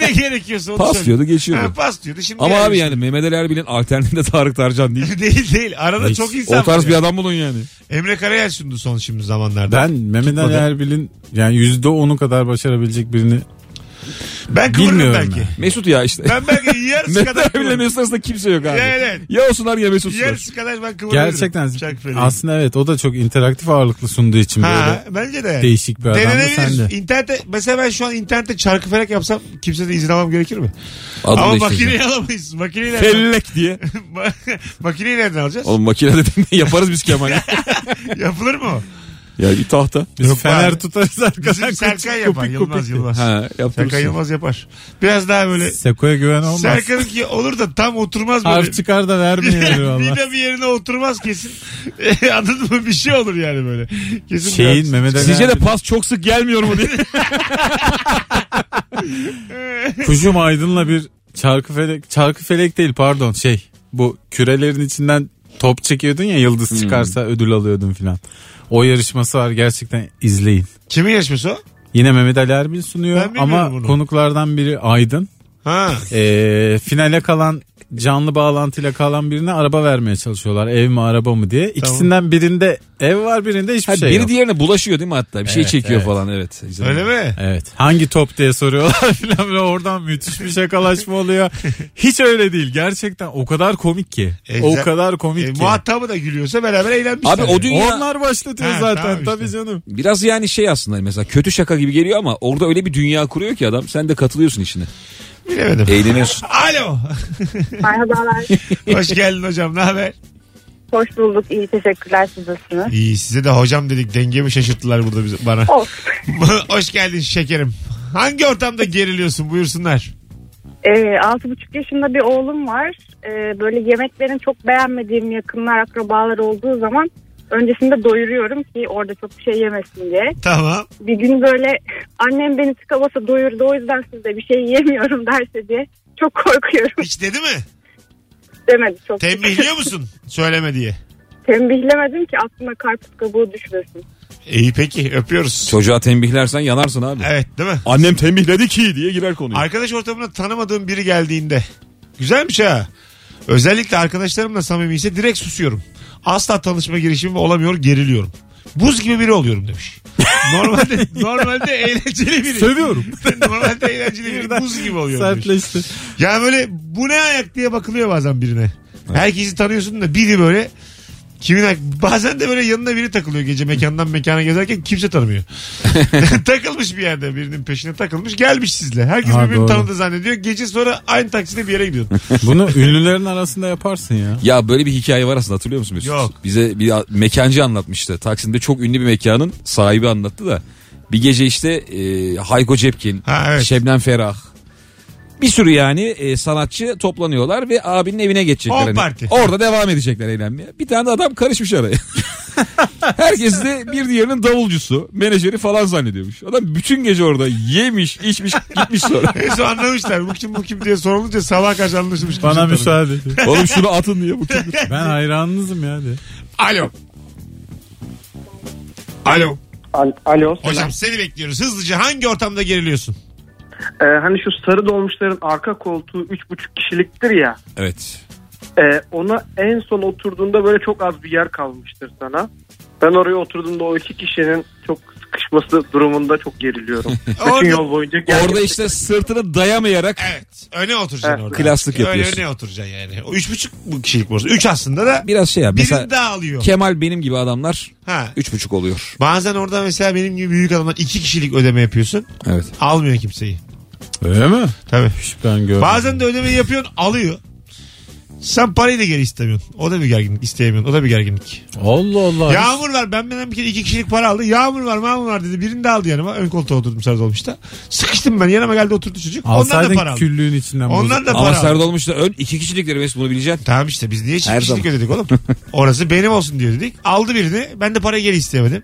S2: ne gerekiyorsa onu
S3: Pas diyordu geçiyordu.
S2: Ha, pas diyordu. Şimdi
S3: Ama abi yani Mehmet Ali Erbil'in alternatifi de Tarık Tarcan değil.
S2: değil değil. Arada çok insan
S3: O tarz
S2: var
S3: bir
S2: ya.
S3: adam bulun yani.
S2: Emre Karayel sundu son şimdi zamanlarda.
S4: Ben Mehmet Ali Erbil'in yani %10'u kadar başarabilecek birini
S2: Ben kıvırırım
S4: bilmiyorum
S2: belki.
S4: ya.
S3: Mesut ya işte.
S2: Ben belki yarısı
S3: Mehmet
S2: kadar
S3: Ali Erbil'le
S2: kıvırırım.
S3: Mesut arasında kimse yok abi.
S2: Ya evet.
S3: Ya Osunar ya Mesut'lar.
S2: Yarısı kadar ben kıvırırım.
S4: gerçekten
S2: Çak feleği.
S4: aslında evet o da çok interaktif ağırlıklı sunduğu için
S2: Ha,
S4: böyle
S2: bence de.
S4: değişik bir adam da sen
S2: Denenebilir.
S4: de.
S2: İnternette, mesela ben şu an internette çarkı felek yapsam kimseden izin almam gerekir mi?
S3: Adını
S2: Ama
S3: değiştireceğim.
S2: makineyi alamayız. Makineyi nereden,
S3: Fellek diye.
S2: makineyi nereden alacağız?
S3: Oğlum makine dedim de yaparız biz Kemal'i.
S2: Yapılır mı o?
S3: ya bir tahta.
S4: Biz
S2: Yok
S4: fener
S2: abi.
S4: tutarız arkadan
S2: Bizim Serkan
S4: kopik
S2: yapar.
S4: kopik
S2: Yılmaz
S4: diye.
S2: Yılmaz.
S3: Ha yaptırırsın.
S2: Serkan Yılmaz yapar. Biraz daha böyle
S4: Seko'ya güven olmaz.
S2: Serkan'ınki olur da tam oturmaz böyle.
S4: Harf çıkar da vermiyor valla.
S2: Bir de bir yerine oturmaz kesin. Anladın mı? Bir şey olur yani böyle. Kesin
S4: Şeyin
S2: biraz-
S4: Mehmet Ali
S3: Sizce de
S4: Erbil'in-
S3: pas çok sık gelmiyor mu diye.
S4: Kuzum Aydın'la bir çarkı felek, çarkı felek değil pardon şey bu kürelerin içinden top çekiyordun ya yıldız
S2: Hmm.
S4: çıkarsa ödül alıyordun filan. O yarışması var gerçekten izleyin.
S2: Kimin yarışması o?
S4: Yine Mehmet Ali Erbil
S2: Ben
S4: sunuyor
S2: bilmiyorum
S4: ama
S2: bunu.
S4: konuklardan biri Aydın.
S2: Ha.
S4: Ee, finale kalan canlı bağlantıyla kalan birine araba vermeye çalışıyorlar. Ev mi araba mı diye. İkisinden birinde ev var birinde hiçbir
S3: Ha,
S4: şey
S3: biri
S4: yok.
S3: diğerine bulaşıyor değil mi hatta? Bir şey
S4: Evet,
S3: çekiyor
S4: evet.
S3: falan evet.
S2: Öyle mi?
S4: Evet. Hangi top diye soruyorlar filan ve oradan müthiş bir şakalaşma oluyor. Hiç öyle değil. Gerçekten o kadar komik ki.
S2: E,
S4: o
S2: za-
S4: kadar komik
S2: E,
S4: ki.
S2: muhatabı da gülüyorsa beraber eğlenmişler.
S3: Abi o dünya
S4: Onlar başlatıyor
S2: Ha,
S4: zaten.
S2: tamam işte.
S4: Tabii canım.
S3: biraz yani şey aslında mesela kötü şaka gibi geliyor ama orada öyle bir dünya kuruyor ki adam sen de katılıyorsun işine.
S2: Bilemedim.
S3: Eğleniyorsun.
S2: Alo.
S5: Merhabalar.
S2: Hoş geldin hocam. Ne haber?
S5: Hoş bulduk. İyi teşekkürler. Siz nasılsınız?
S2: İyi size de hocam dedik. Dengemi şaşırttılar burada bize, bana.
S5: Of.
S2: Hoş geldin şekerim. Hangi ortamda geriliyorsun? Buyursunlar.
S5: Ee, altı buçuk yaşında bir oğlum var. Ee, böyle yemeklerin çok beğenmediğim yakınlar, akrabalar olduğu zaman öncesinde doyuruyorum ki orada çok bir şey yemesin diye.
S2: Tamam.
S5: Bir gün böyle annem beni tıka basa doyurdu o yüzden sizde bir şey yemiyorum derse diye çok korkuyorum
S2: Hiç dedi mi?
S5: demedi çok.
S2: Tembihliyor musun? Söyleme diye.
S5: Tembihlemedim ki aklına karpuz kabuğu düşürsün.
S2: İyi peki öpüyoruz.
S3: Çocuğa tembihlersen yanarsın abi.
S2: Evet değil mi?
S3: Annem tembihledi ki diye girer konuya.
S2: Arkadaş ortamına tanımadığım biri geldiğinde. Güzelmiş ha. Özellikle arkadaşlarımla samimiyse direkt susuyorum. Asla tanışma girişimi olamıyor geriliyorum. Buz gibi biri oluyorum demiş. Normalde normalde eğlenceli biri.
S4: Sövüyorum.
S2: normalde eğlenceli biri buz gibi oluyorum demiş.
S4: Sertleşti.
S2: Ya böyle bu ne ayak diye bakılıyor bazen birine. Herkesi tanıyorsun da biri böyle kimin ayak- bazen de böyle yanına biri takılıyor gece mekandan mekana gezerken kimse tanımıyor. Takılmış bir yerde birinin peşine takılmış gelmiş sizle. Herkes
S4: Ha,
S2: birbirini
S4: doğru.
S2: tanıdı zannediyor. Gece sonra aynı takside bir yere gidiyorsun.
S4: Bunu ünlülerin arasında yaparsın ya.
S3: Ya böyle bir hikaye var aslında hatırlıyor musun Mesut?
S2: Yok.
S3: Bize bir mekancı anlatmıştı. Taksim'de çok ünlü bir mekanın sahibi anlattı da. Bir gece işte e, Hayko Cepkin,
S2: Ha,
S4: Şey-
S2: evet.
S3: Şebnem Ferah. Bir sürü yani e, sanatçı toplanıyorlar ve abinin evine geçecekler.
S2: Home
S3: Hani
S2: party.
S3: Orada devam edecekler eğlenmeye. Bir tane de adam karışmış araya. Herkes de bir diğerinin davulcusu, menajeri falan zannediyormuş. Adam bütün gece orada yemiş, içmiş, gitmiş sonra.
S2: En son anlamışlar. Bu kim bu kim diye sorulunca sabah karşı anlaşılmış. kimse
S4: Bana
S2: tanımıyor.
S4: müsaade edin.
S3: Oğlum şunu atın diye bu kim?
S4: Ben hayranınızım ya de.
S2: Alo. Alo.
S8: Alo.
S2: Hocam seni bekliyoruz. Hızlıca hangi ortamda geriliyorsun?
S8: Ee, hani şu sarı dolmuşların arka koltuğu 3,5 kişiliktir ya.
S3: Evet.
S8: Ee, ona en son oturduğunda böyle çok az bir yer kalmıştır sana. Ben oraya oturduğumda o iki kişinin çok sıkışması durumunda çok geriliyorum. Bütün
S2: Orada-
S8: yol boyunca
S3: Orada işte sırtını dayamayarak
S2: Evet. Öne oturacaksın
S8: Evet.
S2: orada.
S3: Klaslık
S2: Öyle
S3: yapıyorsun.
S2: öne oturacaksın yani. O üç buçuk bu kişilik borsa. Üç aslında da
S3: biraz şey ya.
S2: birini
S3: Mesela
S2: daha alıyor.
S3: Kemal benim gibi adamlar
S2: ha.
S3: üç buçuk oluyor.
S2: Bazen orada mesela benim gibi büyük adamlar iki kişilik ödeme yapıyorsun.
S3: Evet.
S2: Almıyor kimseyi.
S4: Öyle mi?
S2: Tabii.
S4: Hiç ben görmedim.
S2: Bazen de ödemeyi yapıyorsun alıyor. Sen parayı da geri istemiyorsun. O da bir gerginlik. isteyemiyorsun. O da bir gerginlik.
S4: Allah Allah.
S2: Yağmur var. Ben benden bir kere iki kişilik para aldı. Yağmur var, mağmur var dedi. Birini de aldı yanıma. Ön koltuğa oturdum Sarıdolmuş'ta. Sıkıştım ben. Yanıma geldi oturdu çocuk. Ondan da para
S4: Alsaydın
S2: aldı.
S4: küllüğün içinden. bozuk.
S2: Ondan da
S3: Ama
S2: para aldı.
S3: Serdar olmuş da ön iki kişilikleri Mesut bunu bileceksin.
S2: Tamam işte biz niye çift
S3: Her
S2: kişilik ödedik oğlum? Orası benim olsun diye dedik. Aldı birini. Ben de parayı geri isteyemedim.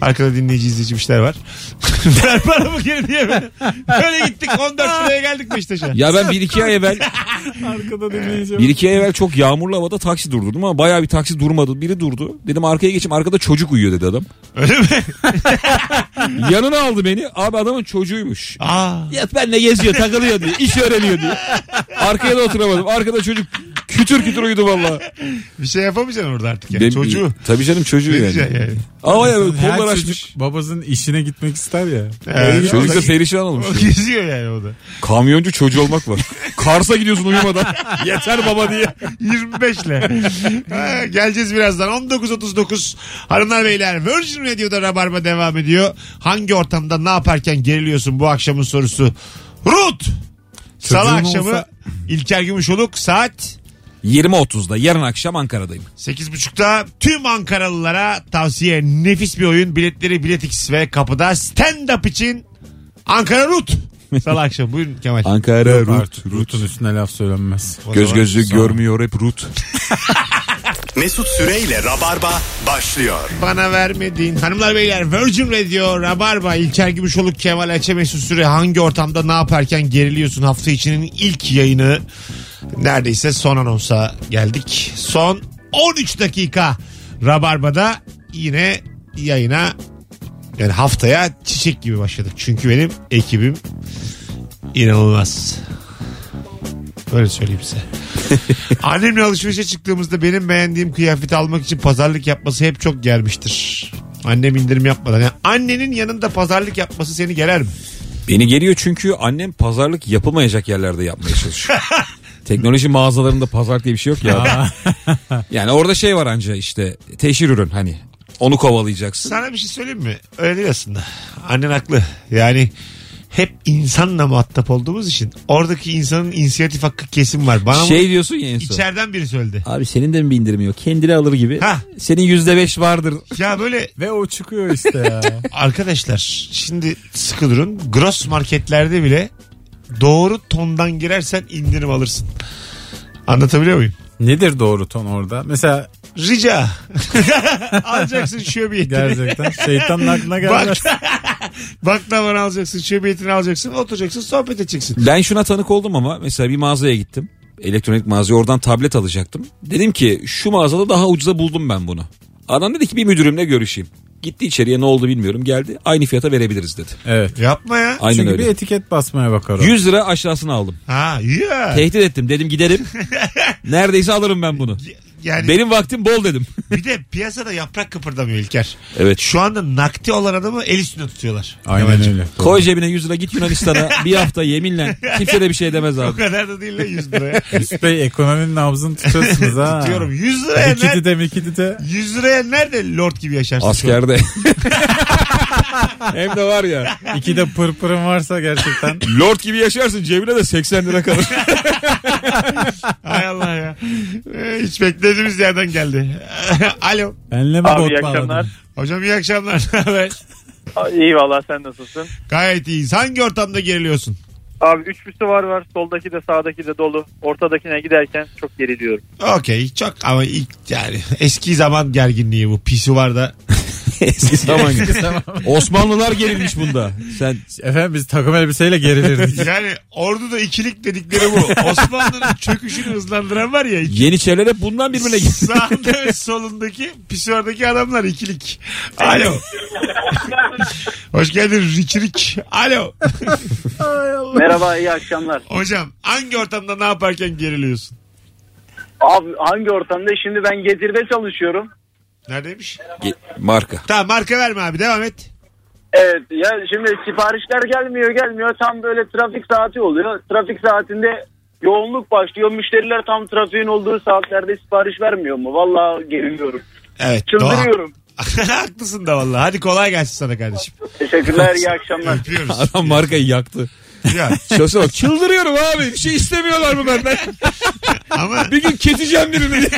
S2: Arkada dinleyici izleyici bir şeyler var. Ver paramı geri diyemedim. Böyle gittik 14 liraya geldik Beşiktaş'a.
S3: Ya ben bir iki ay evvel
S4: Arkada dinleyeceğim.
S3: bir iki ay evvel çok yağmurlu havada taksi durdurdum ama bayağı bir taksi durmadı. Biri durdu. Dedim arkaya geçeyim arkada çocuk uyuyor dedi adam.
S2: Öyle mi?
S3: Yanına aldı beni. Abi adamın çocuğuymuş.
S2: Aa.
S3: Yat benle geziyor takılıyor diye. iş öğreniyor diye. Arkaya da oturamadım. Arkada çocuk kütür kütür uyudu valla.
S2: Bir şey yapamayacaksın orada artık yani. Çocuğu.
S3: Tabii canım çocuğu
S2: Ne
S3: yani.
S2: diyeceksin yani?
S3: Ama ya böyle
S4: Her
S3: kollar
S4: çocuk
S3: açmış.
S4: babasının işine gitmek ister ya.
S2: Evet.
S3: Çocuk da perişan olmuş.
S2: O geziyor yani o da.
S3: Kamyoncu çocuğu olmak var. Kars'a gidiyorsun uyumadan. Yeter baba diye.
S2: 25 ile. Ha, geleceğiz birazdan. 19.39 Hanımlar Beyler Virgin Radio'da Rabarba devam ediyor. Hangi ortamda ne yaparken geriliyorsun bu akşamın sorusu? Rut! Salı
S4: Çocuğum
S2: akşamı
S4: olsa-
S2: İlker Gümüşoluk saat
S3: 20.30'da yarın akşam Ankara'dayım.
S2: 8.30'da tüm Ankaralılara tavsiye nefis bir oyun. Biletleri Biletix ve kapıda stand-up için Ankara Rut. Salı akşam buyurun Kemal.
S3: Ankara
S4: Artık Rut'un üstüne laf söylenmez.
S2: O
S3: Göz
S2: zaman-
S3: gözü görmüyor hep Rut.
S1: Mesut Süreyle Rabarba başlıyor.
S2: Bana vermediğin. Hanımlar beyler Virgin Radio, Rabarba, İlker Gümüşoluk, Kemal Ayça Mesut Süre hangi ortamda ne yaparken geriliyorsun hafta içinin ilk yayını neredeyse son anonsa geldik. Son 13 dakika Rabarba'da yine yayına yani haftaya çiçek gibi başladık. Çünkü benim ekibim inanılmaz. Öyle söyleyeyim size. Annemle alışverişe çıktığımızda benim beğendiğim kıyafeti almak için pazarlık yapması hep çok gelmiştir. Annem indirim yapmadan. Yani annenin yanında pazarlık yapması seni geler mi?
S3: Beni geliyor çünkü annem pazarlık yapılmayacak yerlerde yapmaya çalışıyor. Teknoloji mağazalarında pazarlık diye bir şey yok ya. yani orada şey var anca işte teşhir ürün hani onu kovalayacaksın.
S2: Sana bir şey söyleyeyim mi? Öyle değil aslında. Annen haklı. Yani hep insanla muhatap olduğumuz için oradaki insanın inisiyatif hakkı kesin var. Bana
S3: şey diyorsun ya en
S2: bunu
S3: son.
S2: içeriden biri söyledi.
S3: Abi senin de mi bir indirimi yok? Kendine alır gibi.
S2: Hah.
S3: Senin yüzde beş vardır.
S2: Ya böyle
S4: Ve o çıkıyor işte ya.
S2: arkadaşlar şimdi sıkı durun. Gross marketlerde bile doğru tondan girersen indirim alırsın. Anlatabiliyor muyum?
S4: Nedir doğru ton orada? Mesela
S2: Rica. alacaksın şöbiyetini.
S4: gerçekten şeytanın aklına
S2: Bak,
S4: gelmez.
S2: baklavanı alacaksın, şöbiyetini alacaksın, oturacaksın, sohbet edeceksin.
S3: Ben şuna tanık oldum ama mesela bir mağazaya gittim. Elektronik mağazaya oradan tablet alacaktım. Dedim ki şu mağazada daha ucuza buldum ben bunu. Adam dedi ki bir müdürümle görüşeyim. Gitti içeriye ne oldu bilmiyorum geldi. Aynı fiyata verebiliriz dedi.
S4: Evet.
S2: Yapma ya.
S3: Aynen
S4: Çünkü
S3: öyle.
S4: bir etiket basmaya bakar o.
S3: 100 lira aşağısını aldım.
S2: Ha, ya.
S3: Tehdit ettim dedim giderim. Neredeyse alırım ben bunu.
S2: Yani
S3: Benim vaktim bol dedim.
S2: bir de piyasada yaprak kıpırdamıyor İlker.
S3: Evet.
S2: Şu anda nakdi olan adamı el üstüne tutuyorlar.
S4: Aynen
S2: Kemal'cim.
S4: öyle.
S3: Koy cebine 100 lira git Yunanistan'a bir hafta yeminle kimse de bir şey demez
S2: O
S3: abi.
S2: kadar da değil lan 100 liraya.
S4: Mesut Bey ekonominin nabzını tutuyorsunuz ha.
S2: Diyorum 100 liraya
S4: Mikidi
S2: nerede,
S4: de mikidi de.
S2: 100 liraya nerede lord gibi yaşarsın? şu an?
S3: Askerde. Hem de var ya.
S4: İki de pırpırın varsa gerçekten.
S3: Lord gibi yaşarsın cebine de 80 lira kalır.
S2: Hay Allah ya. Ee, Hiç beklediğimiz yerden geldi. Alo.
S4: Benle mi
S10: Abi,
S4: bot
S10: iyi
S4: bağladın?
S10: akşamlar.
S2: Hocam iyi akşamlar. Ne haber?
S10: İyi valla sen nasılsın?
S2: Gayet iyiyiz. Hangi ortamda geriliyorsun?
S10: Abi üç müsevar var. Soldaki de sağdaki de dolu. Ortadakine giderken çok geriliyorum.
S2: Okey çok ama ilk yani eski zaman gerginliği bu pisi var da
S3: Eski zaman gibi. Osmanlılar gerilmiş bunda. Sen
S4: Efendim biz takım elbiseyle gerilirdik.
S2: yani orduda ikilik dedikleri bu. Osmanlı'nın çöküşünü hızlandıran var ya iki-
S3: Yeniçeriler hep bundan birbirine gir.
S2: Sağında ve solundaki pisuvardaki adamlar ikilik. Alo. Hoş geldin Rikirik. Alo.
S10: Merhaba iyi akşamlar.
S2: Hocam hangi ortamda ne yaparken geriliyorsun?
S10: Abi hangi ortamda? Şimdi ben Getir'de çalışıyorum.
S2: Neredeymiş?
S3: Marka.
S2: Tamam marka verme abi devam et.
S10: Evet ya şimdi siparişler gelmiyor gelmiyor tam böyle trafik saati oluyor. Trafik saatinde yoğunluk başlıyor. Müşteriler tam trafiğin olduğu saatlerde sipariş vermiyor mu? Vallahi geriliyorum.
S2: Evet. doğru.
S10: Çıldırıyorum.
S2: Haklısın da vallahi. Hadi kolay gelsin sana kardeşim.
S10: Teşekkürler iyi akşamlar.
S2: Öpüyoruz.
S3: Adam markayı yaktı.
S2: Ya,
S3: Şöyle bak çıldırıyorum abi. Bir şey istemiyorlar mı benden?
S2: ama
S3: Bir gün keseceğim birini.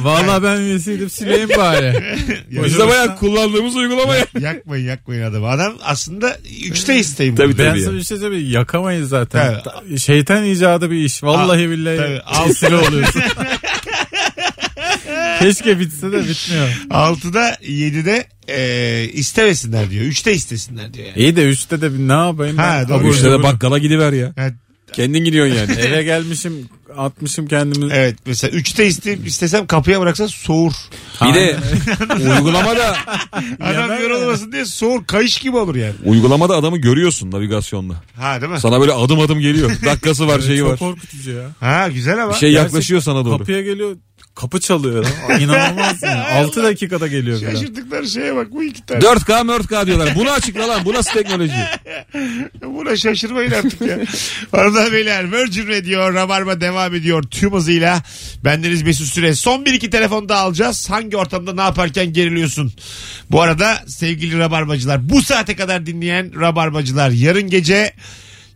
S4: Vallahi ben üyesiydim sileyim bari.
S3: Biz de bayağı kullandığımız uygulama ya.
S2: yakmayın yakmayın adamı. Adam aslında üçte isteyim.
S3: Tabii
S4: Ben
S3: tabii.
S4: sana bir şey söyleyeyim yakamayız zaten.
S2: Evet.
S4: Ta- Şeytan icadı bir iş. Vallahi
S2: Aa,
S4: billahi
S2: tabii.
S4: esiri oluyorsun. Keşke bitse de bitmiyor.
S2: Altıda yedide e, istemesinler diyor. Üçte istesinler diyor yani.
S4: İyi de üstte de bir ne yapayım
S2: Ha,
S4: ben?
S2: doğru.
S4: Abur
S3: Üçte de
S4: cubur.
S3: bakkala gidiver ya.
S2: Ha,
S3: Kendin gidiyorsun yani.
S4: Eve gelmişim atmışım kendimi.
S2: Evet mesela üçte isteyip istesem kapıya bıraksan soğur.
S3: Bir de uygulamada
S2: Adam yorulmasın diye soğur kayış gibi olur yani.
S3: uygulamada adamı görüyorsun navigasyonla.
S2: Ha değil mi?
S3: Sana böyle adım adım geliyor. Dakikası var şeyi
S4: Çok
S3: şey var.
S4: korkutucu ya.
S2: Ha güzel ama.
S3: Bir şey yaklaşıyor sana doğru.
S4: Kapıya geliyor kapı çalıyor. lan. İnanılmaz yani. 6 dakikada geliyor falan.
S2: Şaşırdıkları şeye bak bu iki tane.
S3: 4K 4K diyorlar. Bunu açıkla lan. Bu nasıl teknoloji?
S2: Buna şaşırmayın artık ya. Arada beyler Virgin Radio Rabarba devam ediyor tüm hızıyla. Bendeniz Mesut Süre. Son bir iki telefon daha alacağız. Hangi ortamda ne yaparken geriliyorsun? Bu arada sevgili Rabarbacılar bu saate kadar dinleyen Rabarbacılar yarın gece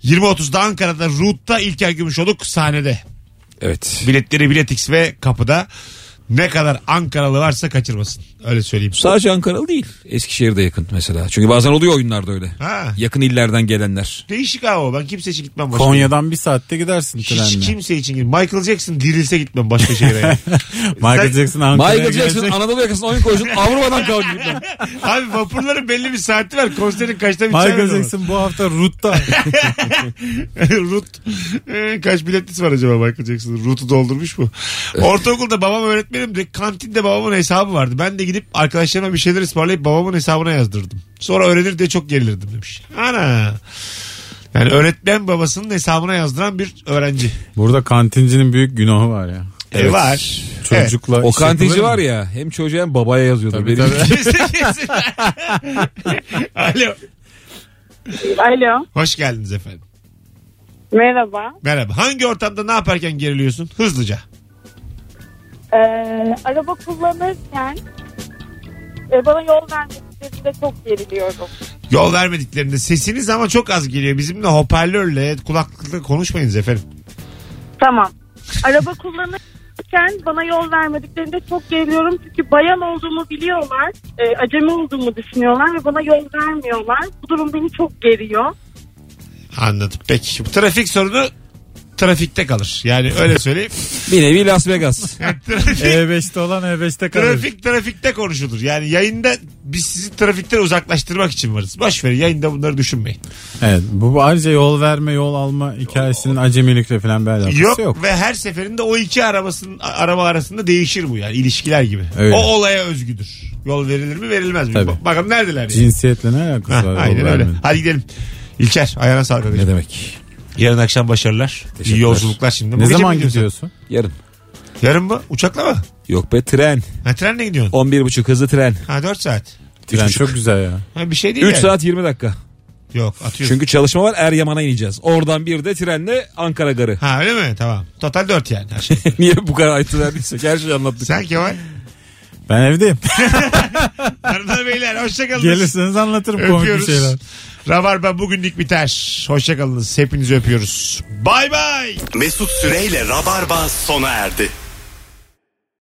S2: 20.30'da Ankara'da Root'ta İlker Gümüşoluk sahnede.
S3: Evet.
S2: Biletleri Biletix ve kapıda. Ne kadar Ankaralı varsa kaçırmasın. Öyle söyleyeyim.
S3: Sadece Ankaralı değil. Eskişehir'de yakın mesela. Çünkü bazen oluyor oyunlarda öyle.
S2: Ha.
S3: Yakın illerden gelenler.
S2: Değişik ha o. Ben kimse için gitmem. başka yere.
S4: Konya'dan bir saatte gidersin
S2: Hiç
S4: trenle.
S2: kimse için gitmem. Michael Jackson dirilse gitmem başka şehre. yani.
S4: Michael
S2: Sen-
S4: Jackson Ankara'ya
S3: Michael Jackson
S4: gelecek.
S3: Anadolu yakasına oyun koysun Avrupa'dan kalkıyor.
S2: Abi vapurların belli bir saati var. Konserin kaçta biteceği
S4: Michael
S2: belli olmaz.
S4: Jackson bu hafta Root'ta.
S2: Rut. Ee, kaç biletlisi var acaba Michael Jackson? Rut'u doldurmuş mu? Ortaokulda babam öğretmenim de kantinde babamın hesabı vardı. Ben de gidip arkadaşlarıma bir şeyler ısmarlayıp babamın hesabına yazdırdım. Sonra öğrenir diye çok gerilirdim demiş. Ana. Yani öğretmen babasının hesabına yazdıran bir öğrenci.
S4: Burada kantincinin büyük günahı var ya.
S2: E, var.
S4: Çocukla
S3: O
S4: iş
S3: kantinci
S4: yapılır
S3: var
S4: mı?
S3: ya hem çocuğa hem babaya yazıyordu.
S4: Tabii,
S3: Benim-
S4: tabii.
S2: Kesin kesin. Alo.
S5: Alo.
S2: Hoş geldiniz efendim.
S5: Merhaba.
S2: Merhaba. Hangi ortamda ne yaparken geriliyorsun? Hızlıca.
S5: Ee, araba kullanırken e, bana yol vermediklerinde çok geriliyorum.
S2: Yol vermediklerinde sesiniz ama çok az geliyor. Bizimle hoparlörle kulaklıkla konuşmayınız efendim.
S5: Tamam. Araba kullanırken bana yol vermediklerinde çok geriliyorum. Çünkü bayan olduğumu biliyorlar. e, acemi olduğumu düşünüyorlar ve bana yol vermiyorlar. Bu durum beni çok geriyor.
S2: Anladım. Peki. Bu trafik sorunu trafikte kalır. Yani öyle söyleyeyim.
S3: Bir nevi Las Vegas.
S2: Yani trafik,
S4: E5'te E olan E5'te kalır.
S2: trafik trafikte konuşulur. Yani yayında biz sizi trafikten uzaklaştırmak için varız. Boş verin yayında bunları düşünmeyin.
S4: Evet bu bu ayrıca yol verme yol alma hikayesinin acemilikle falan bir alakası
S2: Yok,
S4: şey yok.
S2: ve her seferinde o iki arabasının araba arasında değişir bu yani ilişkiler gibi.
S4: Öyle.
S2: O olaya özgüdür. Yol verilir mi verilmez mi?
S4: Tabii.
S2: Bak- Bakalım neredeler yani.
S4: Cinsiyetle ne alakası
S2: Ha,
S4: var? yol
S2: aynen öyle.
S4: vermenin?
S2: Hadi gidelim. İlker ayağına sağlık.
S3: ne
S2: kardeşim.
S3: demek?
S2: Yarın akşam başarılar. İyi
S3: Teşekkürler.
S2: yolculuklar şimdi. Bu
S4: Ne
S2: gece mi
S4: zaman
S2: gidiyorsun?
S4: gidiyorsun?
S3: Yarın.
S2: Yarın mı? Uçakla mı?
S3: Yok be tren.
S2: Ha, trenle gidiyorsun.
S3: 11.30 hızlı tren.
S2: Ha 4 saat.
S4: Tren çok güzel ya.
S2: Ha, bir şey değil
S3: 3
S2: yani.
S3: saat 20 dakika.
S2: Yok atıyorsun.
S3: Çünkü çalışma var Eryaman'a ineceğiz. Oradan bir de trenle Ankara Garı.
S2: Ha öyle mi? Tamam. Total 4 yani. her şey.
S3: Niye bu kadar ayrıntı verdiysek her şeyi anlattık.
S2: Sen Kemal.
S4: Ben evdeyim.
S2: Hanımlar beyler hoşçakalın.
S4: Gelirseniz anlatırım komik bir şeyler.
S2: Öpüyoruz. Rabarba bugünlük biter. Hoşçakalınız. Hepinizi öpüyoruz. Bay bay.
S1: Mesut Süreyle Rabarba sona erdi.